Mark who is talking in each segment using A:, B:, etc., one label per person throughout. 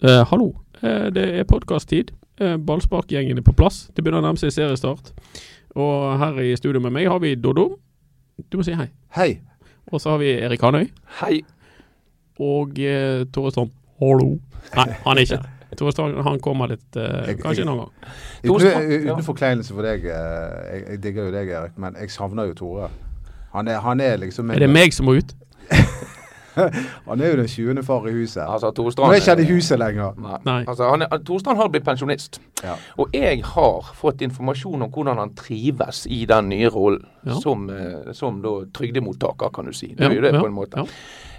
A: Eh, hallo, eh, det er podkast-tid. Eh, Ballsparkgjengen er på plass. Det begynner å nærme seg seriestart. Og her i studio med meg har vi Doddo. Du må si hei.
B: Hei.
A: Og så har vi Erik Hanøy.
B: Hei.
A: Og eh, Tore Strand. Hallo. Nei, han er ikke her. Tore Strand han kommer litt eh,
B: Jeg-
A: Kanskje en annen gang.
B: Uten,
C: Tore Strand,
B: uten
C: ja.
B: forkleinelse for deg, eh, jeg, jeg digger jo deg, Erik, men jeg savner jo Tore. Han er, han er liksom
A: Er det meg som må ut?
B: Han er jo den 20. far i huset.
C: Altså,
B: Nå
C: Torstrand
B: er ikke han i huset lenger.
C: Nei.
A: Nei.
C: Altså, han, er- Torstrand har blitt pensjonist.
B: Ja.
C: Og jeg har fått informasjon om hvordan han trives i den nye rollen
A: Ja.
C: som, eh, som da trygdemottaker, kan du si. Det
A: Ja,
C: er jo det
A: ja,
C: på en måte.
A: ja.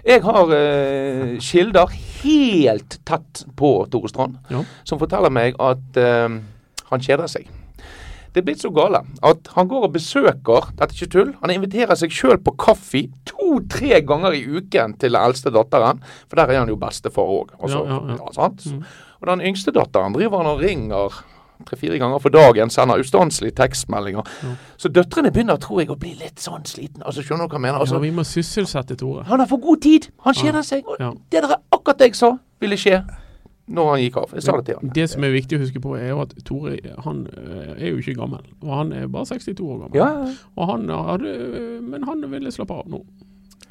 C: Jeg har eh, kilder helt tett på Torstrand
A: Ja.
C: som forteller meg at eh, han kjeder seg. Det er blitt så gale at han går og besøker Dette er ikke tull. Han inviterer seg sjøl på kaffe to-tre ganger i uken til den eldste datteren. For der er han jo bestefar òg. Altså,
A: Ja, ja, Mm. ja.
C: sant? Og den yngste datteren driver han og ringer tre-fire ganger for dagen, sender ustanselige tekstmeldinger. Så døtrene begynner, tror jeg, å bli litt sånn sliten. Altså, skjønner du hva jeg mener? Altså,
A: ja, vi må sysselsette Tore.
C: han har for god tid! Han kjeder seg. Og
A: Ja.
C: det der er akkurat det jeg sa ville skje når han gikk av. Jeg sa det til han.
A: Det som er viktig å huske på, er jo at Tore han eh, er jo ikke gammel. Og han er bare 62 år gammel.
C: Ja,
A: Og han hadde, eh, men han ville slappe av nå.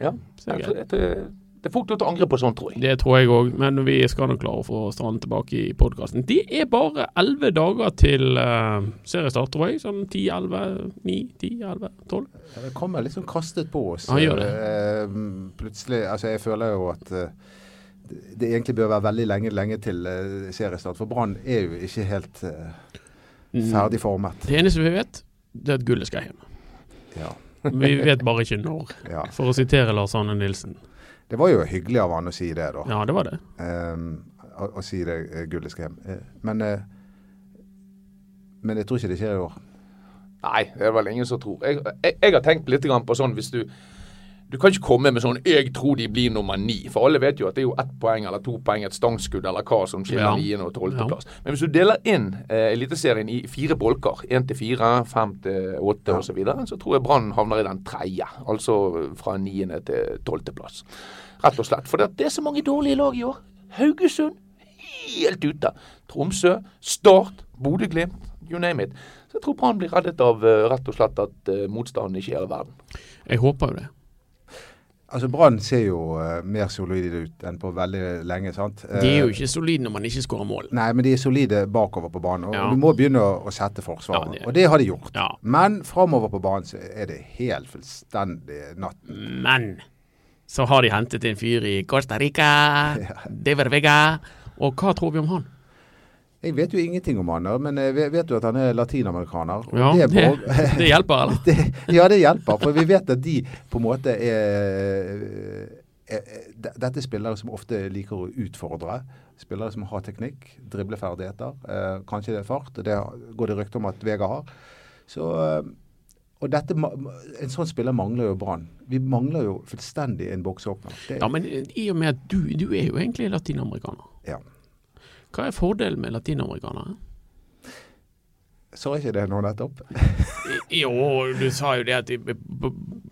C: ja.
A: Så det er greit.
C: Det, det, det er fort gjort å angre på sånt, tror jeg.
A: Det tror jeg òg, men vi skal nok klare å få Strand tilbake i podkasten. Det er bare elleve dager til eh, seriestart, tror jeg. Sånn 10, 11, 9, 10, 11, 12.
B: Ja, Det kommer litt sånn kastet på oss.
A: Han gjør
B: Eh, Plutselig Altså, jeg føler jo at eh, det det egentlig bør være veldig lenge, lenge til eh, seriestart. For Brann er jo ikke helt eh,
A: Mm.
B: ferdig formet.
A: Det eneste vi vet, det er at gullet skal hjem.
B: Ja.
A: Vi vet bare ikke når,
B: ja.
A: for å sitere Lars Arne Nilsen.
B: Det var jo hyggelig av han å si det, da.
A: Ja, det var det.
B: Ehm, å, å si det eh, gullet skal hjem. Eh, men, eh, men jeg tror ikke det skjer i år.
C: Nei, det er vel ingen som tror. Jeg, jeg, jeg har tenkt litt grann på sånn hvis du Du kan ikke komme med sånn 'jeg tror de blir nummer ni', for alle vet jo at det er jo ett poeng eller to poeng, et stangskudd eller hva som
A: Ja.
C: skiller niende og tolvteplass. Men hvis du deler inn eh, Eliteserien i fire bolker, én til fire, fem til åtte osv., så, videre, så tror jeg Brann havner i den tredje, altså fra niende til tolvteplass. Rett og slett. For det, det er så mange dårlige lag i år. Haugesund helt ute. Tromsø, Start, Bodø-Glimt, you name it. Så jeg tror Brann blir reddet av eh, rett og slett at eh, motstanden ikke er all verden.
A: Jeg håper jo det.
B: Altså Brann ser jo eh, mer solide ut enn på veldig lenge, sant?
A: De er
B: Eh,
A: jo ikke solide når man ikke skårer mål.
B: Nei, men de er solide bakover på banen. Og
A: Ja.
B: du må begynne å, å sette forsvaret.
A: Ja, det-
B: Og det har de gjort.
A: Ja.
B: Men framover på banen så er det helt fullstendig natten.
A: Men så har de hentet en fyr i Costa Rica, Dever Vega, og hva tror vi om han?
B: Jeg vet jo ingenting om han, da, men jeg ve- vet jo at han er latinamerikaner. og
A: Ja,
B: det
A: det,
B: er bra.
A: det hjelper, eller?
B: det, ja, det hjelper. For vi vet at de på en måte er, er, er de- Dette er spillere som ofte liker å utfordre. Spillere som har teknikk, dribleferdigheter. Eh, kanskje det er fart. og Det går det rykter om at Vega har. Så, eh, og dette, ma- En sånn spiller mangler jo Brann. Vi mangler jo fullstendig en boksåpner. Det-
A: Ja, men eh, i og med at du, du er jo egentlig latinamerikaner.
B: Ja.
A: Hva er fordelen med latinamerikanere?
B: Sa jeg ikke det nå nettopp?
A: Jo, du sa jo det at de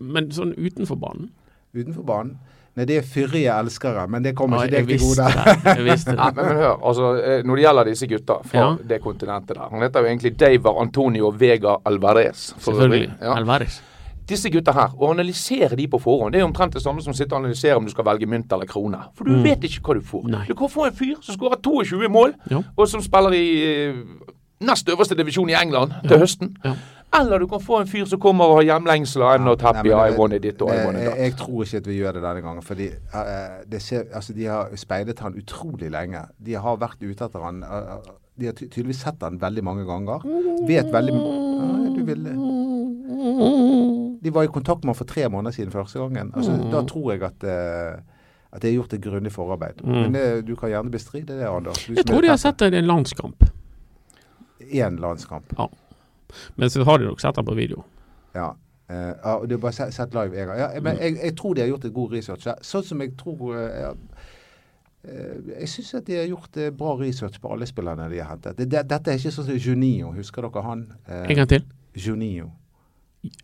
A: Men sånn utenfor banen?
B: Utenfor banen. Nei, det er fyrige elskere, men det kommer
A: Ja,
B: ikke deg til gode.
A: det. Jeg visste
C: Nei,
A: det.
C: men, men hør, altså, eh, når det gjelder disse gutta fra
A: Ja.
C: det kontinentet der Han heter jo egentlig Daver Antonio Vega Alvarez. for
A: Selvfølgelig.
C: øvrig. Ja.
A: Alvarez.
C: Disse gutta her, å analysere de på forhånd, det er jo omtrent det samme som å sitte og analysere om du skal velge mynt eller krone. For du vet ikke hva du får.
A: Mm. Nei.
C: Du kan få en fyr som skårer 22 mål,
A: Ja.
C: og som spiller i eh, nest øverste divisjon i England til høsten.
A: Ja.
C: Eller du kan få en fyr som kommer og har hjemlengsler. I'm not happy,
B: Nei, men
C: I wanted it, og I
B: det-
C: wanted
B: jeg,
C: that.
B: jeg tror ikke at vi gjør det denne gangen. Fordi eh, det ser, altså, De har speidet han utrolig lenge. De har vært ute etter han. eh, eh, de har ty tydeligvis sett han veldig mange ganger. Vet veldig Nei, du vil... eh. De var i kontakt med han for tre måneder siden første gangen. Altså, Da tror jeg at eh, at det er gjort et grundig forarbeid. Men det, du kan gjerne bestride det, Anders. Du
A: Mm. Jeg tror de har sett deg i en landskamp.
B: én landskamp.
A: Men så har de nok sett den på video.
B: Ja. Eh, ja, og det er bare sett, sett live en gang. Ja, men
A: Mm.
B: jeg, jeg tror de har gjort et god research. ja. Sånn som jeg tror eh, ja, eh, Jeg syns at de har gjort eh, bra research på alle spillerne de har hentet. Det, det, dette er ikke sånn som Junio. Husker dere han? Eh,
A: En gang til.
B: Juninho.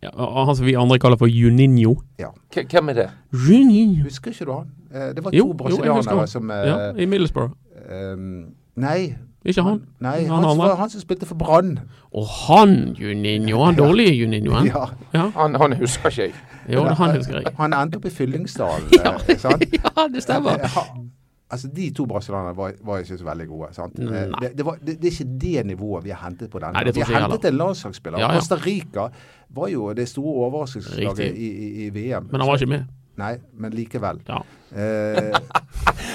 A: ja, han som vi andre kaller for Juninho.
C: K- Hvem er det?
A: Juninho.
B: Husker ikke du han? Eh, Det var
A: Jo,
B: to
A: jo, jeg husker
B: brasilianere
A: han.
B: som eh,
A: Ja, I Middlesbrough.
B: ehm, Nei.
A: Ikke han.
B: Nei,
A: Han
B: han, som
A: andre.
B: var han som spilte for Brann.
A: Og han Juninho, han dårlige Juninho. Han.
B: Ja.
A: Ja.
C: Han, han husker ikke jeg.
A: Jo, han husker jeg.
B: Han endte opp i Fyllingsdalen.
A: Ja.
B: eh, sant?
A: Ja, det stemmer.
B: Eh, ha- Altså, De to brasilianerne var, var ikke så veldig gode. sant? Eh,
A: Nei.
B: Det, det, var, det, det er ikke det nivået vi har hentet på denne.
A: Nei, det
B: vi
A: tror ikke
B: har
A: jeg
B: hentet en landslagsspiller.
A: Ja, ja.
B: Costa Rica var jo det store overraskelseslaget
A: Riktig.
B: i, i, i VM.
A: Men han var ikke med.
B: Nei, men likevel.
A: Ja.
B: Eh,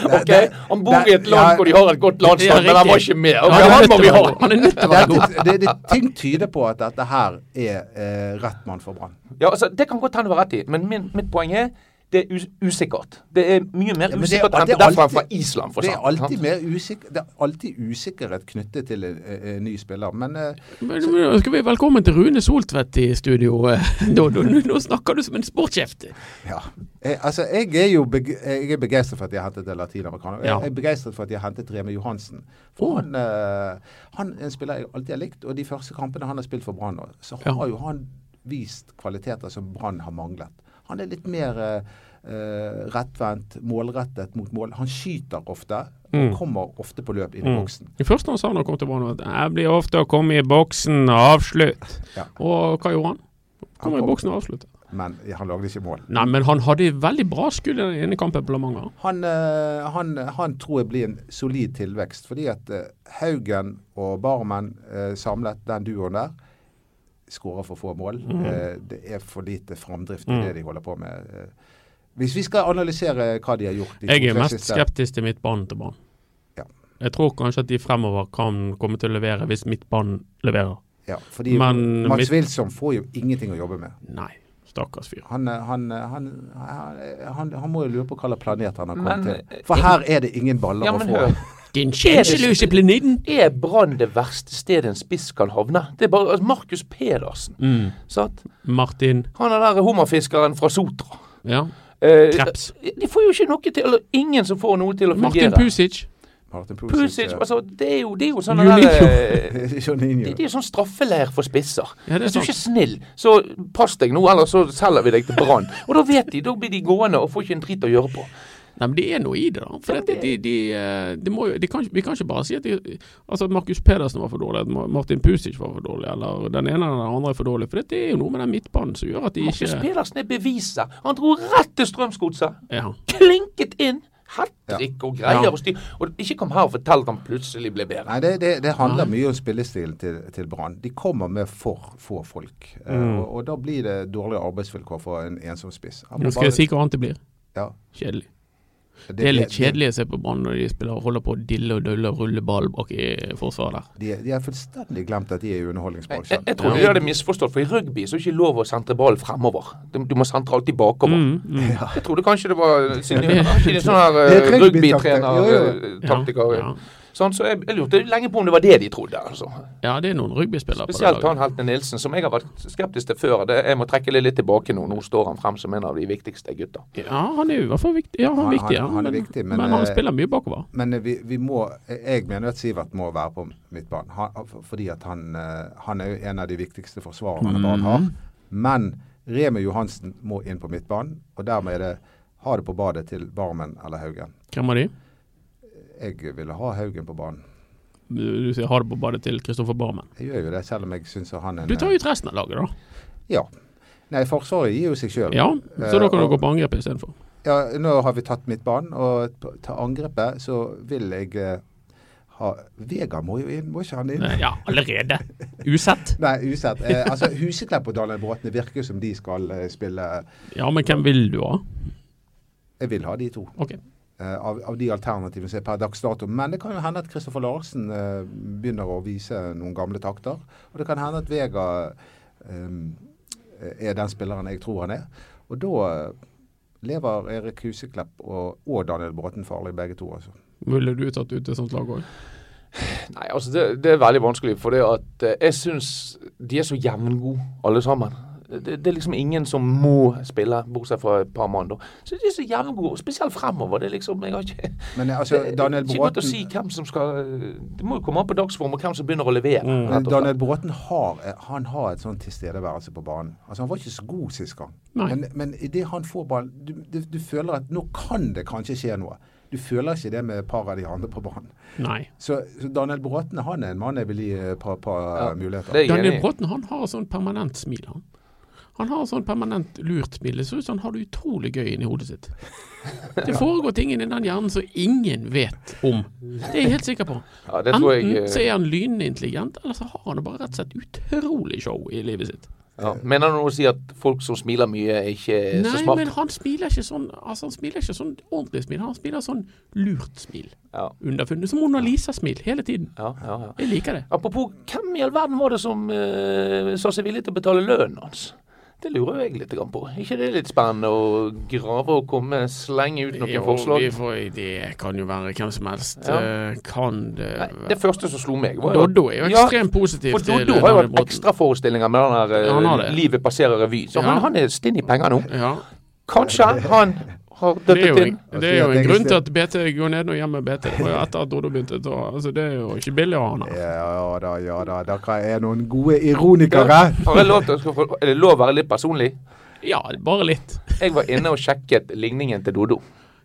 C: Ok, Han bor i et
B: det-
C: land
B: ja.
C: hvor de har et godt landslag,
A: Ja,
C: men han var
A: riktig.
C: ikke med.
A: Ja,
C: Ok,
A: han er
C: han
A: nødt
C: må
A: til
C: vi
A: å
C: ha.
A: være god. Han er nødt til å være god.
B: dette, det, det, ting tyder på at dette her er eh, rett mann for Brann.
C: Ja, altså, Det kan godt hende du har rett i, men min, mitt poeng er det er us usikkert. Det er mye mer
B: Ja, men det-
C: usikkert å
B: det
C: hente
B: er
C: derfra enn
B: alltid-
C: fra Island, for
B: Det er
C: sant.
B: alltid, mer usikker, det er alltid usikkerhet knyttet til en, en ny spiller, men eh,
A: Men, men, skal vi velkommen til Rune Soltvedt i studio. eh, Nå, nå, nå- nå snakker du som en sportskjeft.
B: Ja. Jeg, altså, jeg er jo beg jeg er begeistret for at de har hentet en latinamerikaner.
A: Ja.
B: Jeg er begeistret for at de har hentet Reme Johansen. For
A: Åh.
B: han, eh, han er en spiller jeg alltid har likt, og de første kampene han har spilt for Brann, nå, så
A: Ja.
B: har jo han vist kvaliteter som Brann har manglet. Han er litt mer eh, eh, rettvendt, målrettet mot mål. Han skyter ofte,
A: Mm.
B: og kommer ofte på løp inn i boksen.
A: Det første han sa da han kom til Brann, var at 'jeg blir ofte å komme i boksen og avslutte'.
B: Ja.
A: Og hva gjorde han? Kommer i boksen og avslutter.
B: Men han lagde ikke mål.
A: Nei, men han hadde veldig bra skudd i den ene kampen på Lamanger.
B: Han, eh, han, han tror jeg blir en solid tilvekst, fordi at eh, Haugen og Barmen eh, samlet, den duoen der, skårer for få mål.
A: Mhm.
B: Eh, det er for lite framdrift i det de holder på med. Eh, hvis vi skal analysere hva de har gjort de
A: Jeg er
B: to-tre
A: mest
B: siste-
A: skeptisk til midtbanen til Brann.
B: Ja.
A: Jeg tror kanskje at de fremover kan komme til å levere hvis midtbanen leverer.
B: Ja, fordi
A: Men
B: Mats
A: mitt-
B: Wilson får jo ingenting å jobbe med.
A: Nei, stakkars fyr.
B: Han, eh, han, eh, han, han, eh, han, han må jo lure på hva slags planet han har
C: Men,
B: kommet
C: eh,
B: til. For her er det ingen baller
C: Ja,
B: å
C: men
B: få.
C: hør.
A: Din kjeseløse planin!
C: Er Brann det verste stedet en spiss kan havne? Det er bare altså, Markus Pedersen.
A: Mm.
C: Sant?
A: Martin
C: Han er der hummerfiskeren fra Sotra.
A: Ja,
C: Eh,
A: Kreps.
C: De får jo ikke noe til, eller ingen som får noe til å
A: Martin
C: fungere.
A: Pusic.
B: Martin
C: Pusic,
B: eh,
C: altså, det er jo, det er jo sånn der
A: Juninho.
C: eh,
B: Juninho.
C: det, det er sånn straffeleir for spisser.
A: Ja, det er
C: Hvis du
A: sant.
C: ikke er snill, så pass deg nå, ellers så selger vi deg til Brann. Og da vet de, da blir de gående og får ikke en drit å gjøre på.
A: Nei, men det er noe i det, da. For dette, de, de, eh, de må jo, de kan, ikke- vi kan ikke bare si at de, altså at Markus Pedersen var for dårlig, at Ma- Martin Pusic var for dårlig, eller den ene eller den andre er for dårlig. For dette er jo noe med den midtbanen som gjør at de
C: Markus
A: ikke
C: Pedersen er beviset. Han dro rett til Strømsgodset.
A: ja.
C: Klinket inn. Hattrikk og greier
A: Ja.
C: og styr. Og ikke kom her og fortell at han plutselig ble bedre.
B: Nei, det, det, det handler mye om spillestilen til, til Brann. De kommer med for få folk. eh,
A: Mm.
B: Og, og da blir det dårlige arbeidsvilkår for en ensom spiss. Han må
A: Nå skal jeg
B: bare-
A: si hva annet det blir.
B: ja,
A: Kjedelig.
B: det-
A: Det er litt
B: det-
A: kjedelig å se på Brann når de spiller, holder på å dille og dølle og rulle ball bak i forsvaret der.
B: De, de har fullstendig glemt at de er i
C: Jeg, jeg,
A: Eh,
B: underholdningsbransjen.
C: jeg tror de hadde misforstått, for i rugby så er det ikke lov å sentre ballen fremover. Du, du må sentre alltid bakover.
A: Mm.
C: Jeg trodde kanskje det var eh, siden de har ikke en sånn her
B: Det er
C: eh,
B: rugbytaktikk. Jo, jo.
C: rugbytrener-taktiker.
A: Ja,
C: Sånn, så jeg, jeg lurte lenge på om det var det de trodde. altså.
A: ja. ja, det er noen rugbyspillere på det
C: Spesielt han
A: laget.
C: Heltene Nilsen, som jeg har vært skeptisk til før. Det, jeg må trekke det litt tilbake nå. Nå står han frem som en av de viktigste gutta.
A: Ja, han er jo i hvert fall viktig. Ja, han
B: Han-
A: er viktig, ja.
B: han- han er
A: men,
B: viktig, men,
A: men, han
B: eh,
A: spiller mye bakover.
B: Men eh, vi, vi må Jeg mener at Sivert må være på midtbanen. Han, for- fordi at han, eh, han er jo en av de viktigste forsvarerne Brann har.
A: Mm.
B: Men Remi Johansen må inn på midtbanen, og dermed er det ha det på badet til Barmen eller Haugen.
A: Hvem er de?
B: Jeg ville ha Haugen på banen.
A: Du, du sier ha det på badet til Kristoffer Barmen.
B: Jeg gjør jo det, selv om jeg syns han er en
A: Du tar jo ut resten av laget, da.
B: Ja. Nei, Forsvaret gir jo seg sjøl.
A: Ja, så da kan du
B: og-
A: gå på angrep istedenfor.
C: Eh,
B: Ja, nå har vi tatt midtbanen, og på- til angrepet så vil jeg eh, ha Vega må jo inn, må ikke han inn? Nei,
A: Eh, Ja, allerede. Usett.
B: usett. Eh, altså, Huseklepp og Daniel Bråten, det virker jo som de skal eh, spille
A: Ja, men hvem vil du ha?
B: Jeg vil ha de to,
A: Ok.
B: eh, av, av de alternativene som er per dags dato. Men det kan jo hende at Kristoffer Larsen eh, begynner å vise noen gamle takter. Og det kan hende at Vega eh, er den spilleren jeg tror han er. Og da eh, lever Erik Huseklepp og, og Daniel Bråten farlig, begge to, altså.
A: Ville du tatt ut et sånt lag òg?
C: Nei, altså det, det er veldig vanskelig, for det at eh, jeg syns de er så jevngode, alle sammen. Eh, Det, det er liksom ingen som må spille, bortsett fra et par mann. da. Så de er så jevngode, spesielt fremover. Det er liksom, jeg har ikke
B: Men eh, altså, Daniel
C: Det er ikke godt å
B: Bråten
C: si hvem som skal Det må jo komme an på dagsform og hvem som begynner å levere.
A: Mm.
C: rett og slett.
B: eh, Daniel Bråten har, eh, han har et sånn tilstedeværelse på banen. Altså Han var ikke så god sist gang.
A: Nei.
B: Men, men idet han får ballen, du, du, du føler at nå kan det kanskje skje noe. Du føler ikke det med et par av de andre på banen.
A: Nei.
B: Så, så Daniel Bråten han er en mann jeg vil gi et par, par eh,
C: Ja,
B: muligheter.
C: Det er jeg
A: Daniel
C: enig i.
A: Bråten han har sånn permanent smil, han. Han har sånn permanent lurt smil. Det ser ut som han har det utrolig gøy inni hodet sitt. Det foregår ting inni den hjernen som ingen vet om. Det er jeg helt sikker på.
C: Ja, det tror jeg
A: Enten Mm, så
C: eh,
A: er han lynintelligent, eller så har han bare rett og slett utrolig show i livet sitt.
C: ja. Mener du å si at folk som smiler mye, er ikke er så
A: Nei, men
C: smart?
A: han smiler ikke sånn Altså han smiler ikke sånn ordentlig smil, han smiler sånn lurt smil.
C: Ja,
A: Underfunnet. Som Mona Lisa-smil hele tiden.
C: ja, ja, ja.
A: Jeg liker det.
C: Apropos, hvem i all verden var det som eh, sa seg villig til å betale lønnen hans? Det lurer jeg litt grann på. Er ikke det litt spennende å grave og komme slenge ut noen
A: Jo,
C: forslag?
A: vi får- det kan jo være hvem som helst.
C: Ja.
A: Eh, Kan det
C: Nei,
A: være
C: det første som slo meg, var jo
A: Doddo er jo
C: Ja,
A: ekstremt positiv
C: For
A: til
C: Doddo har jo
A: Daniel
C: hatt
A: Bråten.
C: ekstraforestillinger med den der eh,
A: Ja, han har det.
C: Livet passerer revy. Så
A: Ja.
C: han, han er stinn i penger nå.
A: Ja,
C: Kanskje han har
A: det er
C: døttet
A: jo
C: inn.
A: en, det er jo
B: Jeg
A: en
B: tenker
A: grunn til
B: ikke-
A: at BT går ned og hjemme BT. Det var jo etter at Doddo begynte å ta altså, Det er jo ikke billig å ha han her.
B: Ja da, ja da. Dere er noen gode ironikere.
C: Har jeg lov til å skal få- Er det lov å være litt personlig?
A: Ja, bare litt.
C: Jeg var inne og sjekket ligningen til Dodo.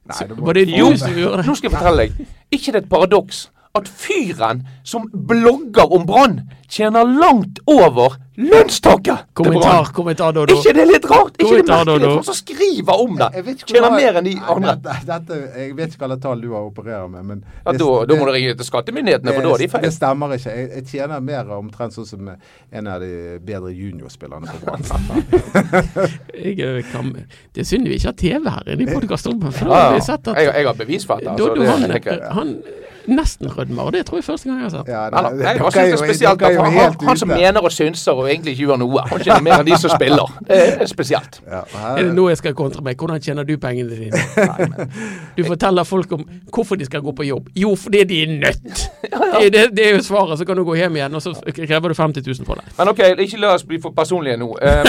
B: Nei, du må-
A: Var det du
C: Jo,
A: som gjorde det?
C: nå skal jeg fortelle deg. Ikke det er et paradoks at fyren som blogger om Brann, tjener langt over lønnstaket til
A: Kommentar,
C: Brann?
A: kommentar,
C: Er
A: Doddo.
C: ikke det litt rart? Er ikke det
A: Kommentar,
C: merkelig
A: Dodo.
C: at han som skriver om det,
B: Jeg vet ikke hvordan-
C: tjener mer enn de
B: Nei,
C: andre?
B: Dette, dette, jeg vet ikke hva slags tall du har opererer med, men
C: Ja, da, da må du ringe til skattemyndighetene, for da er de
B: Det
C: feil.
B: stemmer ikke. Jeg, jeg tjener mer omtrent sånn som en av de bedre juniorspillerne på banen.
A: Jeg, eh, kan, det er synd vi ikke har TV her inne i podkastrommet. For da
C: Ja,
A: har vi
C: ja.
A: sett at
C: jeg, jeg har bevis for dette. Altså,
A: Doddo
C: det,
A: han,
C: jeg tenker-
A: han nesten rødmer, og det tror jeg første gang jeg har sett.
B: Ja,
C: Nei, nei,
B: dere
C: jeg
B: er
C: bare synes det
B: jo-
C: er spesielt
B: dere er
C: at
B: jo
C: han,
B: helt
C: han, han som
B: ute.
C: mener og synser og egentlig ikke gjør noe, han kjenner mer enn de som spiller. Det er spesielt.
B: Ja,
A: Er det
B: her,
A: nå jeg skal kontre meg? Hvordan tjener du pengene dine? Du forteller folk om hvorfor de skal gå på jobb. Jo, fordi de er nødt! Det, det, det er jo svaret. Så kan du gå hjem igjen, og så krever du 50 000 for det.
C: Men ok, ikke la oss bli for personlige nå. Eh,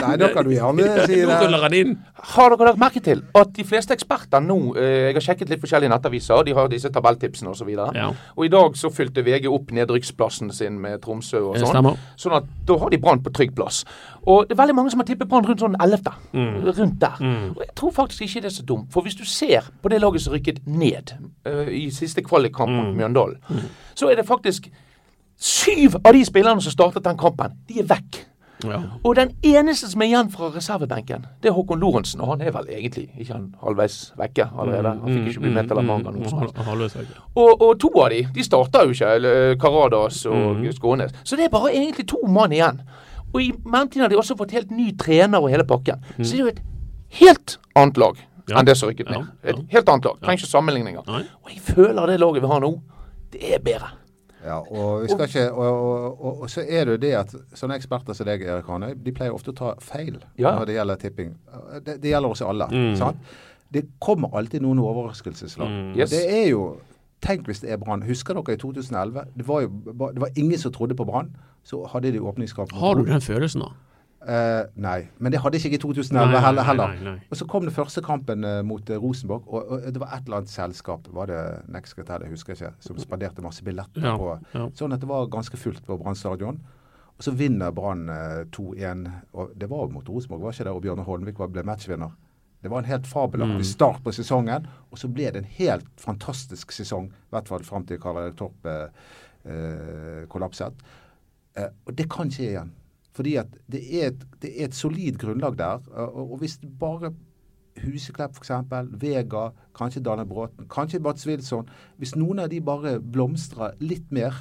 B: nei, da kan du gjerne si
A: Nå
B: det.
A: ruller han inn.
C: har dere lagt merke til at de fleste eksperter nå eh, Jeg har sjekket litt forskjellige nettaviser, de har disse tabelltipsene osv.
A: Ja.
C: Og, ja. og i dag så fylte VG opp nedrykksplassen sin med Tromsø og
A: Det
C: sånn.
A: stemmer.
C: Sånn at da har de Brann på trygg plass. Og det er veldig mange som har tippet Brann rundt sånn 11.
A: Mm.
C: Rundt der. Og jeg tror faktisk ikke det er så dumt. For hvis du ser på det laget som rykket ned eh, i siste kvalikkamp
A: Mm.
C: mot Mjøndalen, så er det faktisk syv av de spillerne som startet den kampen, de er vekk.
A: Ja.
C: Og den eneste som er igjen fra reservebenken, det er Håkon Lorentzen. Og han er vel egentlig ikke han halvveis vekke allerede. Han fikk
A: Mm,
C: ikke bli med til Lamanga noe sånt. Og, og to av de, de starter jo ikke, eller, eh, Karadas og Skånes. Så det er bare egentlig to mann igjen. Og i mellomtiden har de også fått helt ny trener og hele pakken. Så det er jo et helt annet lag
A: Ja.
C: enn det som rykket ned.
A: Ja, ja.
C: Et helt annet lag. Trenger ikke sammenligninger.
A: Nei.
C: Og jeg føler det laget vi har nå, det er bedre.
B: Ja, og, vi skal ikke, og, og, og, og så er det jo det at sånne eksperter som deg, Erik Hanøy, de pleier ofte å ta feil
C: Ja.
B: når det gjelder tipping. Det, det gjelder oss alle.
A: Mm.
B: sant? Det kommer alltid noen overraskelseslag.
C: Yes.
B: Det er jo Tenk hvis det er Brann. Husker dere i 2011? Det var jo ba- det var ingen som trodde på Brann. Så hadde de åpningskamp. mot
A: Har du
B: Brann.
A: den følelsen, da?
B: Eh, nei, men det hadde ikke jeg i 2011
A: Nei, nei,
B: heller.
A: nei,
B: heller.
A: nei, nei.
B: Og så kom den første kampen eh, mot eh, Rosenborg, og, og det var et eller annet selskap, var det Nexcatel, jeg husker ikke, som spanderte masse billetter
A: Ja,
B: på
A: ja.
B: Sånn at det var ganske fullt på Brann stadion. Og så vinner Brann eh, 2-1. og Det var mot Rosenborg, var ikke det? Og Bjørne Holmvik var- ble matchvinner. Det var en helt fabelaktig
A: Mm.
B: start på sesongen, og så ble det en helt fantastisk sesong. I hvert fall fram til Karel Torp eh, eh, kollapset. Eh, og det kan skje igjen. Fordi at det er et, det er et solid grunnlag der. eh, Og, og hvis bare Huseklepp f.eks., Vega, kanskje Daniel Bråten, kanskje Mats Wilson Hvis noen av de bare blomstrer litt mer,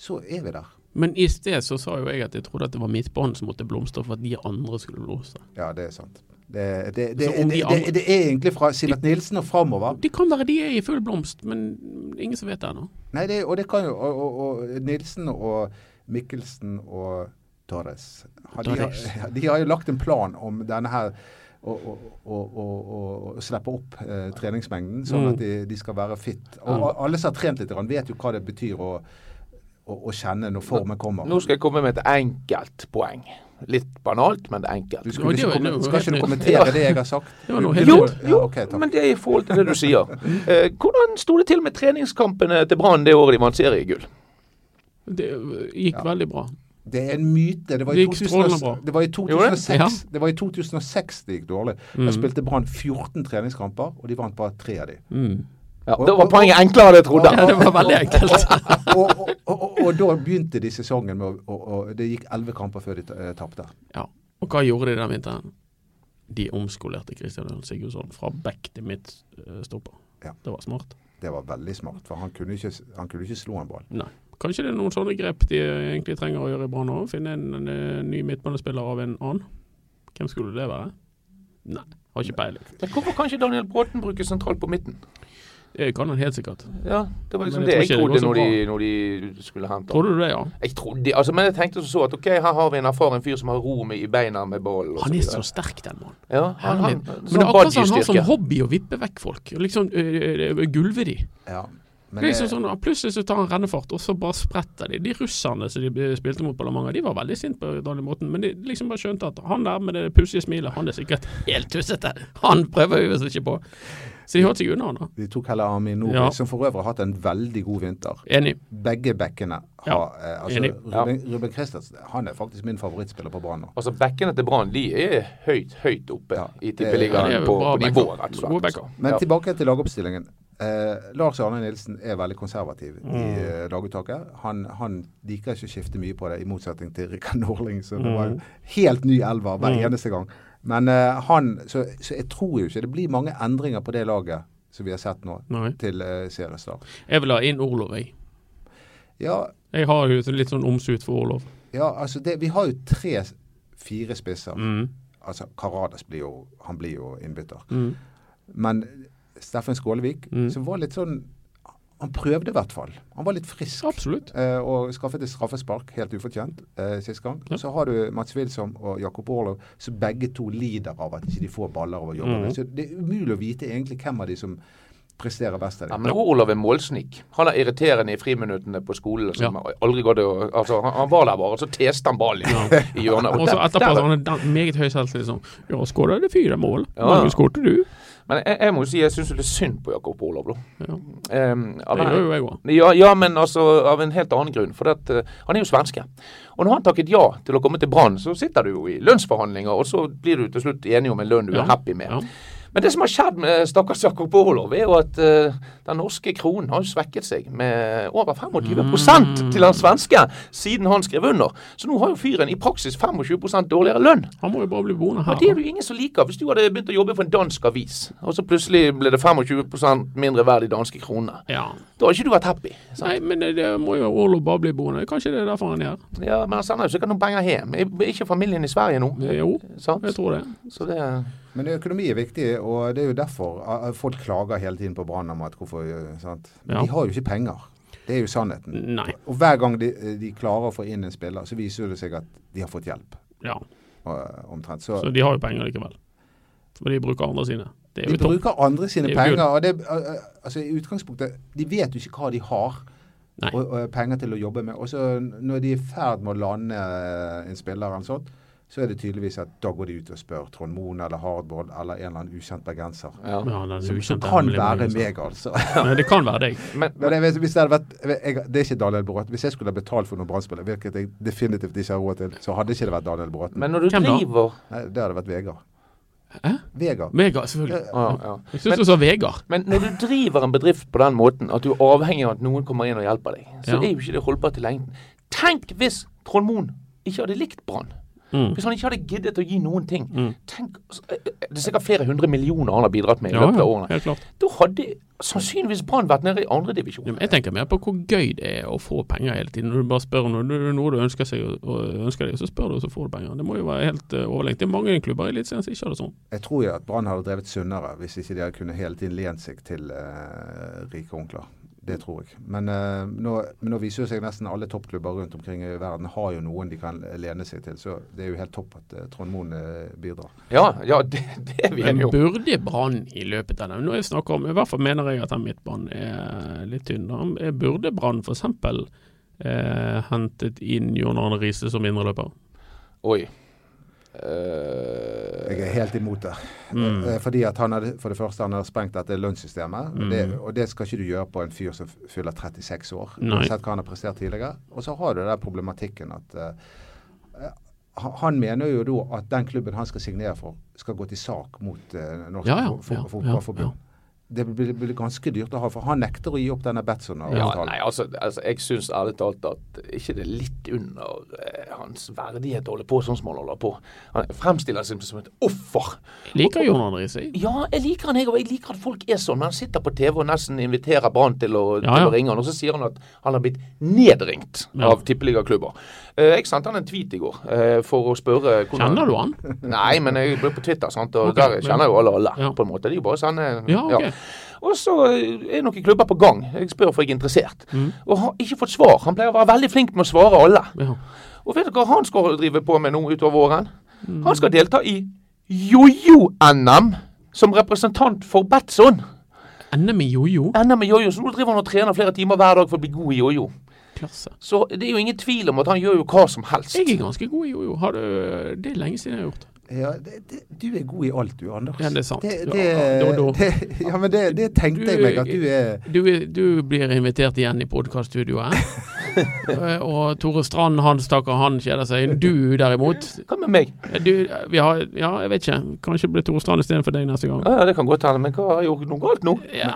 B: så er vi der.
A: Men i sted så sa jo jeg at jeg trodde at det var midtbanen som måtte blomstre for at de andre skulle blomstre.
B: Ja, det er sant. Det, det, det,
A: Så
B: det,
A: om de
B: det,
A: andre-
B: det er egentlig fra Sivert Nilsen og framover.
A: Det kan være de er i full blomst, men ingen som vet det ennå.
B: Nei, det, og det kan jo og, og, og Nilsen og Mikkelsen og Torres har, de,
A: Torres.
B: har, de har jo lagt en plan om denne her å, å, å, å, å- å slippe opp eh,
A: Mm.
B: treningsmengden, sånn at de, de skal være fit. Og alle som har trent litt, grann vet jo hva det betyr å, å å, å kjenne når formen kommer.
C: Nå skal jeg komme med et enkelt poeng. Litt banalt, men
B: Du
C: enkelt.
A: Oi,
B: skulle
A: det
B: ikke
A: var- det
B: komme,
A: var
B: skal ikke du
A: helt nytt.
B: kommentere det jeg har sagt?
A: Det var noe
B: Du-
A: helt
B: du-
C: Jo,
A: nytt.
B: ja,
C: jo
B: ok, takk.
C: men det er i forhold til det du sier. Eh, hvordan sto det til med treningskampene til Brann det året de vant seriegull?
A: Det gikk
B: Ja.
A: veldig bra.
B: Det er en myte. Det var
A: Det
B: i,
A: gikk strålende
B: 2000,
A: bra.
B: det var i
C: Gjorde
B: 2006
A: det? Ja.
B: det var i 2006 det gikk dårlig. Da spilte Brann 14 treningskamper, og de vant bare tre av de.
A: Mm.
C: Ja, da var poenget enklere enn jeg trodde.
A: Ja, det var veldig enkelt.
B: Og, og, og, og, og da begynte de sesongen med å og, og Det gikk elleve kamper før de eh, tapte.
A: Ja. Og hva gjorde de den vinteren? De omskolerte Christian Øren Sigurdsson fra back til midtstopper.
B: Ja.
A: Det var smart.
B: Det var veldig smart, for han kunne ikke, han kunne ikke slå en ball.
A: Nei. Kanskje det er noen sånne grep de egentlig trenger å gjøre i Brann òg? Finne en, en, eh, ny midtbanespiller av en annen? Hvem skulle det være? Nei, har ikke peiling.
C: Men hvorfor kan ikke Daniel Bråten brukes sentralt på midten?
A: Det kan han helt sikkert.
C: Ja, Det var liksom
A: Men
C: det
A: jeg
C: jeg
A: tror ikke
C: trodde
A: det går
C: når
A: så
C: de, når de skulle hente han.
A: Trodde du det, ja?
C: Jeg trodde, altså, Men jeg tenkte så at ok, her har vi en erfaren fyr som har ro med i beina med ballen. og
A: Han er
C: videre.
A: så sterk, den mannen.
C: Ja, han, han, sånn
A: Herlig. Men det er akkurat som han har sånn som hobby å vippe vekk folk. og Liksom øh, øh, gulve de.
B: Ja. Men
A: Liksom
B: det,
A: sånn, ah, plutselig så tar han rennefart, og så bare spretter de. De russerne som de ble- spilte mot på La Manga, de var veldig sinte på Daniel Morten, men de liksom bare skjønte at han der med det pussige smilet, han er sikkert helt tussete. Han prøver jo visst ikke på. Så de holdt seg unna han da.
B: de eh, tok heller Amin Nori,
A: Ja.
B: som for øvrig har hatt en veldig god vinter.
A: Enig.
B: Begge bekkene har
A: Ja,
B: eh, altså,
A: enig.
B: Ruben, Ruben Christensen han er faktisk min favorittspiller på Brann nå.
C: Altså, Bekkene til Brann de er høyt høyt oppe
B: Ja,
C: i
A: Ja, det
C: tippeligaen
A: er jo
C: på,
A: bra
C: på nivå,
A: backer.
C: rett og
A: Gode
C: slett.
A: backer.
C: altså.
B: Men
C: Ja.
B: tilbake til lagoppstillingen. Eh, Lars Arne Nilsen er veldig konservativ i
A: Mm.
B: eh, laguttaket. Han, han liker ikke å skifte mye på det, i motsetning til Rikard Norling, som
A: Mm.
B: var helt ny elver hver eneste gang. Men eh, han så, så jeg tror jo ikke det blir mange endringer på det laget som vi har sett nå,
A: Nei.
B: til eh, seriestart.
A: Jeg vil ha inn Orlov, jeg.
B: Ja,
A: Jeg har jo litt sånn omsut for Orlov.
B: ja, altså det, vi har jo tre-fire spisser.
A: Mm.
B: Altså, Karadas blir jo Han blir jo innbytter.
A: Mm.
B: Men Steffen Skålevik,
A: Mm.
B: som var litt sånn Han prøvde i hvert fall. Han var litt frisk.
A: Absolutt.
B: eh, og skaffet et straffespark, helt ufortjent, eh, sist gang.
A: Ja.
B: Så har du Mats Wilsom og Jakob Orlov, som begge to lider av at ikke de får baller over jobben.
A: Mhm.
B: Så det er umulig å vite egentlig hvem av de som presterer best av
C: Ja,
B: dem.
C: men Olav er målsnik. Han er irriterende i friminuttene på skolen. Som aldri går det å, altså, han, han var der bare, og så teste han ballen i, i hjørnet.
A: Og så
C: der-
A: etterpå
C: der-
A: så har han er dan- meget høy selvtillit sånn Ja, skåra det fire mål.
C: Ja.
A: Hvor mange skårte du?
C: Men jeg, jeg må jo si jeg syns det er synd på Jakob Olav, da.
A: Ja.
C: Ehm, av
A: Det
C: en-
A: gjør jo jeg òg.
C: ja, ja, men altså av en helt annen grunn. For det at, eh, han er jo svenske. Og når han takket ja til å komme til Brann, så sitter du jo i lønnsforhandlinger, og så blir du til slutt enig om en lønn du
A: Ja,
C: er happy med.
A: ja.
C: Men det som har skjedd med stakkars Jakob Orlov, er jo at eh, den norske kronen har jo svekket seg med over 25
A: Mm.
C: til den svenske siden han skrev under. Så nå har jo fyren i praksis 25 dårligere lønn.
A: Han må jo bare bli boende
C: Og det
A: her.
C: er det jo ingen som liker. Hvis du hadde begynt å jobbe for en dansk avis, og så plutselig ble det 25 mindre verd i danske kroner,
A: Ja.
C: da har ikke du vært happy. sant?
A: Nei, men det, det må jo Orlov bare bli boende. Kanskje det er derfor han er her.
C: Ja, men han sender jo sikkert noen penger hjem. Er ikke familien i Sverige nå?
A: Jo,
C: Sant?
A: jeg tror det.
C: Så det
B: Men økonomi er viktig, og det er jo derfor ah, folk klager hele tiden på Brann om at hvorfor eh, sant? Men
A: Ja.
B: de har jo ikke penger. Det er jo sannheten.
A: Nei.
B: Og hver gang de, eh, de klarer å få inn en spiller, så viser det seg at de har fått hjelp.
A: Ja.
B: og- Omtrent. Så,
A: Så de har jo penger likevel. For de bruker andre sine. Det er
B: de
A: jo topp.
B: bruker andre sine
A: Det er jo
B: penger. og det, eh, eh, altså I utgangspunktet De vet jo ikke hva de har
A: Nei.
B: og, og penger til å jobbe med. Og så når de er i ferd med å lande eh, en spiller eller noe sånt, så er det tydeligvis at da går de ut og spør Trond Moen eller Hardboard eller en eller annen ukjent bergenser.
A: Ja,
C: ja.
A: den er
B: Som, som
A: ukjent,
B: kan
A: den
B: være
A: blir-
B: meg, altså.
A: Nei, det kan være deg.
C: Men,
B: Men jeg vet, hvis det hadde vært jeg, Det er ikke Daniel Bråten. Hvis jeg skulle ha betalt for noen Brann-spillere, hvilket jeg definitivt ikke har råd til, så hadde ikke det vært Daniel Bråten.
C: men når du
A: Hvem da?
C: driver
B: Nei, det hadde vært Vegard.
A: Hæ?
B: Vegard.
A: Vegard, selvfølgelig.
C: ja, ja.
A: Jeg syns du sa Vegard.
C: Men når du driver en bedrift på den måten at du er avhengig av at noen kommer inn og hjelper deg, så
A: Ja.
C: er jo ikke det holdbart i lengden. Tenk hvis Trond Moen ikke hadde likt Brann.
A: Mm.
C: Hvis han ikke hadde giddet å gi noen ting. Tenk, altså, eh, eh, Det er sikkert flere hundre millioner han har bidratt med i
A: Ja,
C: løpet av
A: ja,
C: årene.
A: helt klart.
C: Da hadde sannsynligvis Brann vært nede i andredivisjon.
A: Ja, men Jeg tenker mer på hvor gøy det er å få penger hele tiden. Når du bare spør om noe, når- noe du ønsker, seg, og ønsker deg, så spør du, og så får du penger. Det må jo være helt eh, overlegent. Det er mange klubber i Eliteserien som ikke har det sånn.
B: Jeg tror jo at Brann hadde drevet sunnere hvis ikke de hadde kunnet hele tiden lent seg til eh, rike onkler. Det tror jeg. Men eh, nå, men nå viser det seg nesten alle toppklubber rundt omkring i verden har jo noen de kan lene seg til. Så det er jo helt topp at eh, Trond Moen eh, bidrar.
C: Ja, ja, det, det er vi
A: Men
C: enige om.
A: burde Brann i løpet av den Nå jeg snakker om, I hvert fall mener jeg at den midtbanen er litt tynn. da. Burde Brann f.eks. eh, hentet inn Jon Arne Riise som indreløper.
C: Oi. Eh,
B: Jeg er helt imot det.
A: Mm.
B: Eh, Fordi at han hadde, For det første, han har sprengt dette lønnssystemet. og Det, og det skal ikke du gjøre på en fyr som fyller 36 år.
A: Mm. Nei.
B: Uansett hva han har prestert tidligere. Og så har du den problematikken at eh, eh, han- han mener jo da at den klubben han skal signere for, skal gå til sak mot eh, Norsk
A: Ja, ja,
B: fo- fo-
A: ja, ja,
B: Fotballforbund.
A: ja.
B: Det blir, blir ganske dyrt å ha, for han nekter å gi opp denne
C: ja,
B: Betson-avtalen.
C: nei, altså, altså jeg syns ærlig talt at ikke det er litt under eh, hans verdighet å holde på sånn som han holder på. Han fremstiller seg som et offer.
A: Liker Jon Arne Riise. jeg.
C: Ja, jeg liker han, jeg òg. Jeg liker at folk er sånn. Men han sitter på TV og nesten inviterer Brann til, å-
A: Ja,
C: til
A: ja.
C: å ringe han, og så sier han at han har blitt nedringt
A: Ja.
C: av tippeligaklubber. Eh, jeg sendte han en tweet i går eh, for å spørre hvordan
A: Kjenner du han?
C: Nei, men jeg ble på Twitter, sant? og
A: Ok,
C: der kjenner jo alle alle,
A: Ja.
C: på en måte. Det er jo bare sånn eh,
A: Ja, ok.
C: Og så eh, er noen klubber på gang. Jeg spør for jeg er interessert. Og har ikke fått svar. Han pleier å være veldig flink med å svare alle.
A: Ja.
C: Og vet du hva han skal drive på med nå utover våren? Han skal delta i jojo-NM som representant for Batson.
A: NM i jojo.
C: NM i jojo, så nå driver han og trener flere timer hver dag for å bli god i jojo.
A: Klasse.
C: Så det er jo ingen tvil om at han gjør jo hva som helst.
A: Jeg er ganske god i jojo. Har du Det er lenge siden jeg har gjort.
B: Ja, det, det, du er god i alt du, Anders.
A: Ja, det er sant.
B: Det,
A: Ja,
B: det,
A: ja, da- da-
B: det, ja, men det, det tenkte jeg
A: Du-
B: meg at du er
A: Du, er- du blir invitert igjen i podkaststudioet. Eh, og Tore Strand, han stakkar, han kjeder seg. Du derimot
C: Hva med meg?
A: eh, du, eh, vi har, Ja, jeg vet ikke. Kanskje det blir Tore Strand istedenfor deg neste gang.
C: Ja, ja, det kan godt hende, men hva har jeg gjort noe galt nå?
A: Ja,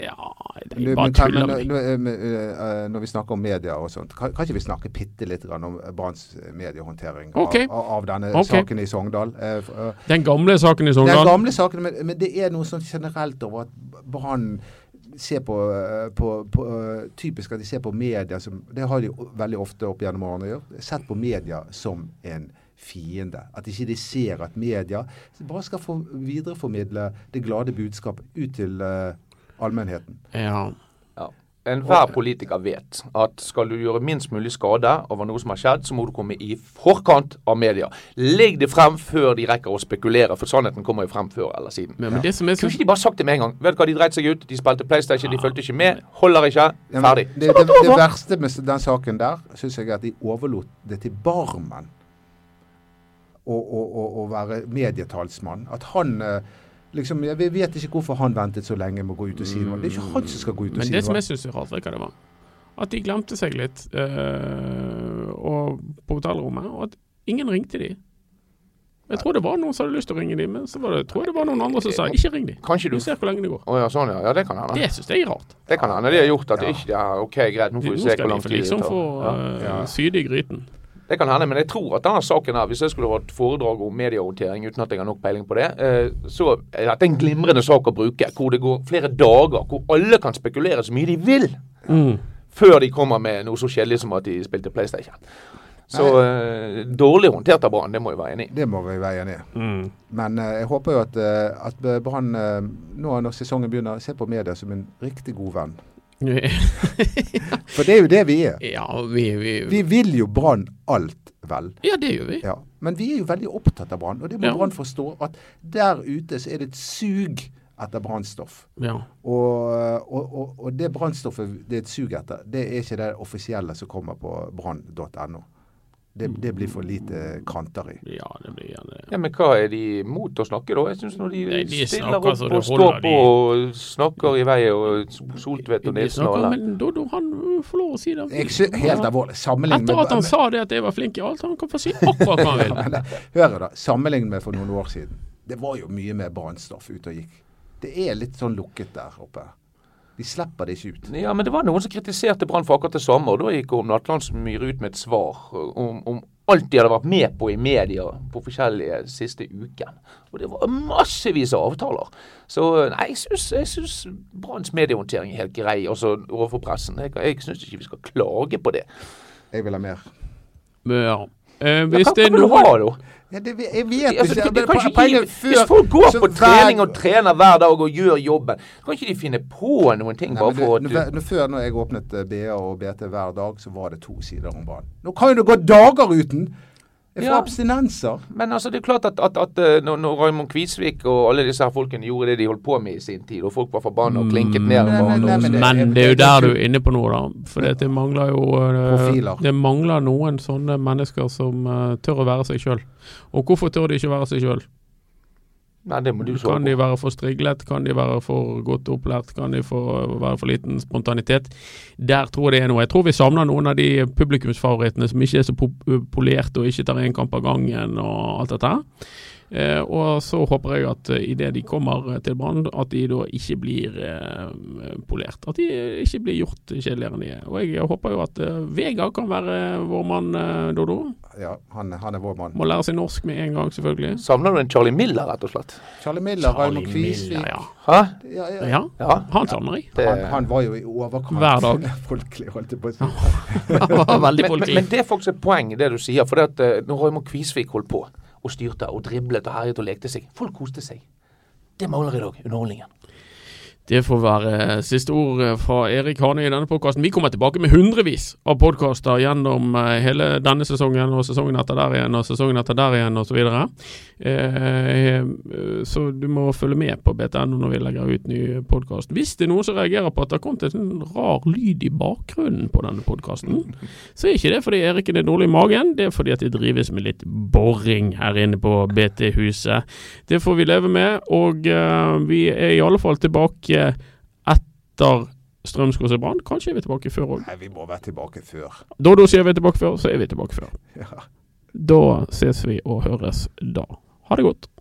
A: ja
B: Nå-
A: Jeg bare
B: men, kan-
A: tuller
B: men,
A: med deg.
B: nå- eh, men, eh, eh, Når vi snakker om media og sånt, kan, kan ikke vi snakke bitte litt grann om Branns mediehåndtering av-
A: Ok.
B: av, av denne
A: Ok.
B: saken i Sogndal? Eh, f- eh,
A: Den gamle saken i
B: Det er
A: Sogndal.
B: gamle saker, men, men det er noe sånn generelt over at Brann ser på, eh, på, på eh, Typisk at de ser på media som Det har de o- veldig ofte opp gjennom årene gjort. Sett på media som en fiende. At ikke de ser at media bare skal få videreformidle det glade budskap ut til eh, allmennheten.
A: Ja.
C: Ja. Enhver politiker vet at skal du gjøre minst mulig skade over noe som har skjedd, så må du komme i forkant av media. Legg det frem før de rekker å spekulere, for sannheten kommer jo frem før eller siden.
A: Men, men det som er så
C: Kunne ikke de bare sagt det med en gang? Vet du hva, de dreit seg ut, de spilte PlayStation, de fulgte ikke med. Holder ikke.
B: Ja, men
C: Ferdig.
B: Det,
C: Så
B: det,
C: var det
B: det
C: over.
B: verste med den saken der, syns jeg er at de overlot det til Barmen å, å, å, å være medietalsmann. At han eh, liksom ja, Vi vet ikke hvorfor han ventet så lenge med å gå ut og si noe. Det er ikke han som skal gå ut og
A: Men
B: si
A: det som
B: noe.
A: jeg syns er rart, vet du hva det var? At de glemte seg litt eh, og på hotellrommet, og at ingen ringte de. Jeg tror det var noen som hadde lyst til å ringe de, men så var det, jeg tror jeg det var noen andre som sa ikke ring de.
C: Kanskje
A: Du
C: du
A: ser hvor lenge det går.
C: Å ja, sånn ja. Ja, det kan hende.
A: Det syns jeg er rart.
C: Det kan hende. Det har gjort
B: Ja.
C: at det ikke ja, OK, greit, nå
A: Nå
C: får vi se
A: skal de
C: hvor lang
A: få
C: tid det
A: liksom
C: tar.
A: få
C: Ja.
A: eh,
B: Ja.
A: syde i gryten.
C: Det kan hende, men jeg tror at denne saken her, hvis jeg skulle hatt foredrag om mediehåndtering uten at jeg har nok peiling på det, eh, så er dette en glimrende sak å bruke. Hvor det går flere dager, hvor alle kan spekulere så mye de vil,
A: Mm.
C: før de kommer med noe så kjedelig som at de spilte PlayStation. Så eh, dårlig håndtert av Brann, det må jeg være enig i.
B: Det må vi være enige i.
C: Mm.
B: Men eh, jeg håper jo at, eh, at Brann eh, nå når sesongen begynner, ser på media som en riktig god venn. For det er jo det vi er.
A: Ja, vi, vi
B: Vi vil jo Brann alt vel.
A: Ja, det gjør vi.
B: Ja, Men vi er jo veldig opptatt av Brann, og det må
A: Ja.
B: Brann forstå. At der ute så er det et sug etter Brannstoff.
A: Ja.
B: Og, og, og, og det brannstoffet det er et sug etter, det er ikke det offisielle som kommer på brann.no. Det, det blir for lite kanter i.
A: ja, det blir gjerne
C: Ja, Men hva er de mot å snakke, da? Jeg syns når de,
A: Nei, de
C: stiller
A: snakker
C: opp
A: så det
C: og står
A: holder, de-
C: på og snakker i vei, og Soltvedt
A: Vi
C: og Nilsen og
A: snakker,
C: alle
A: men Dodo, han ø, får lov å si det.
B: Jeg sy helt alvorlig. Sammenlign
A: Etter at han
B: med,
A: sa det at jeg var flink i alt, han kan få si akkurat hva han vil.
B: Hører da, sammenlign med for noen år siden. Det var jo mye mer brannstoff ute og gikk. Det er litt sånn lukket der oppe. De slipper det ikke ut.
C: Ja, men det var noen som kritiserte Brann for akkurat det samme, og da gikk Orm Natlandsmyr ut med et svar eh, om, om alt de hadde vært med på i media på forskjellige siste uken. Og det var massevis av avtaler. Så eh, nei, jeg syns, jeg syns Branns mediehåndtering er helt grei, altså overfor pressen. Jeg, jeg syns ikke vi skal klage på det.
B: Jeg vil ha mer.
A: Men ja. Eh,
C: Ja,
A: hvis
C: hva,
A: det er
C: hva vil du
A: noen
C: ha, da?
B: Ja, det, jeg vet
C: Altså,
B: ikke.
C: det, det
B: men
C: kan ikke
B: poenget
C: gi,
B: før-
C: hvis folk går
B: så
C: på
B: hver-
C: trening og trener hver dag og gjør jobben, kan ikke de finne på noen ting
B: Nei,
C: bare
B: men
C: for
B: du,
C: at
B: nå- nå- Før når jeg åpnet eh, BA og BT hver dag, så var det to sider om banen. Nå kan jo det gå dager uten! Jeg får
C: Ja.
B: abstinenser.
C: Men altså, det er klart at, at, at eh, når, når Raymond Kvisvik og alle disse her folkene gjorde det de holdt på med i sin tid, og folk var forbanna
A: Mm.
C: og klinket ned
B: Nei,
C: om
B: nei, nei,
C: hverandre
B: men det-
A: Men det er jo der du er inne på noe, da. For det, det mangler jo eh,
B: Profiler.
A: Det mangler noen sånne mennesker som eh, tør å være seg sjøl. Og hvorfor tør de ikke være seg sjøl?
C: Nei, det må du svare
A: Kan de
C: på.
A: være for striglet? Kan de være for godt opplært? Kan de for, være for liten spontanitet? Der tror jeg det er noe. Jeg tror vi savner noen av de publikumsfavorittene som ikke er så pop- polerte og ikke tar én kamp av gangen og alt dette. her. Eh, og så håper jeg at eh, idet de kommer eh, til Brann, at de da ikke blir eh, polert. At de eh, ikke blir gjort kjedeligere enn de er. Og jeg håper jo at eh, Vegard kan være vår mann, eh, Dodo.
B: Ja, han, han er vår mann.
A: Må lære seg norsk med en gang, selvfølgelig.
C: Savner du en Charlie Miller, rett og slett?
B: Charlie Miller, Raymond
A: Charlie
B: Kvisvik
A: Miller, ja.
C: Hæ?
B: ja, ja.
A: ja.
C: Ja.
A: Han savner jeg.
C: Det,
B: han, han var jo i overkant
A: Hver dag.
B: folkelig, holdt jeg på å si.
A: Han var veldig
C: men, men,
A: politi.
C: men det er faktisk et poeng, det du sier. For det at eh, når Raymond Kvisvik holdt på og styrte og driblet og herjet og lekte seg, folk koste seg. Det mangler i dag, underholdningen.
A: Det får være siste ord eh, fra Erik Hanøy i denne podkasten. Vi kommer tilbake med hundrevis av podkaster gjennom eh, hele denne sesongen og sesongen etter der igjen og sesongen etter der igjen osv. Så, videre. eh, eh, så du må følge med på BTNO når vi legger ut ny podkast. Hvis det er noen som reagerer på at det har kommet en sånn rar lyd i bakgrunnen på denne podkasten, så er ikke det fordi Eriken er dårlig i magen, det er fordi at det drives med litt boring her inne på BT-huset. Det får vi leve med, og eh, vi er i alle fall tilbake etter Strømskog og Brann. Kanskje er vi tilbake før òg.
B: Nei, vi må være tilbake før.
A: Dodo sier vi er tilbake før, så er vi tilbake før.
B: Ja.
A: Da ses vi og høres da. Ha det godt.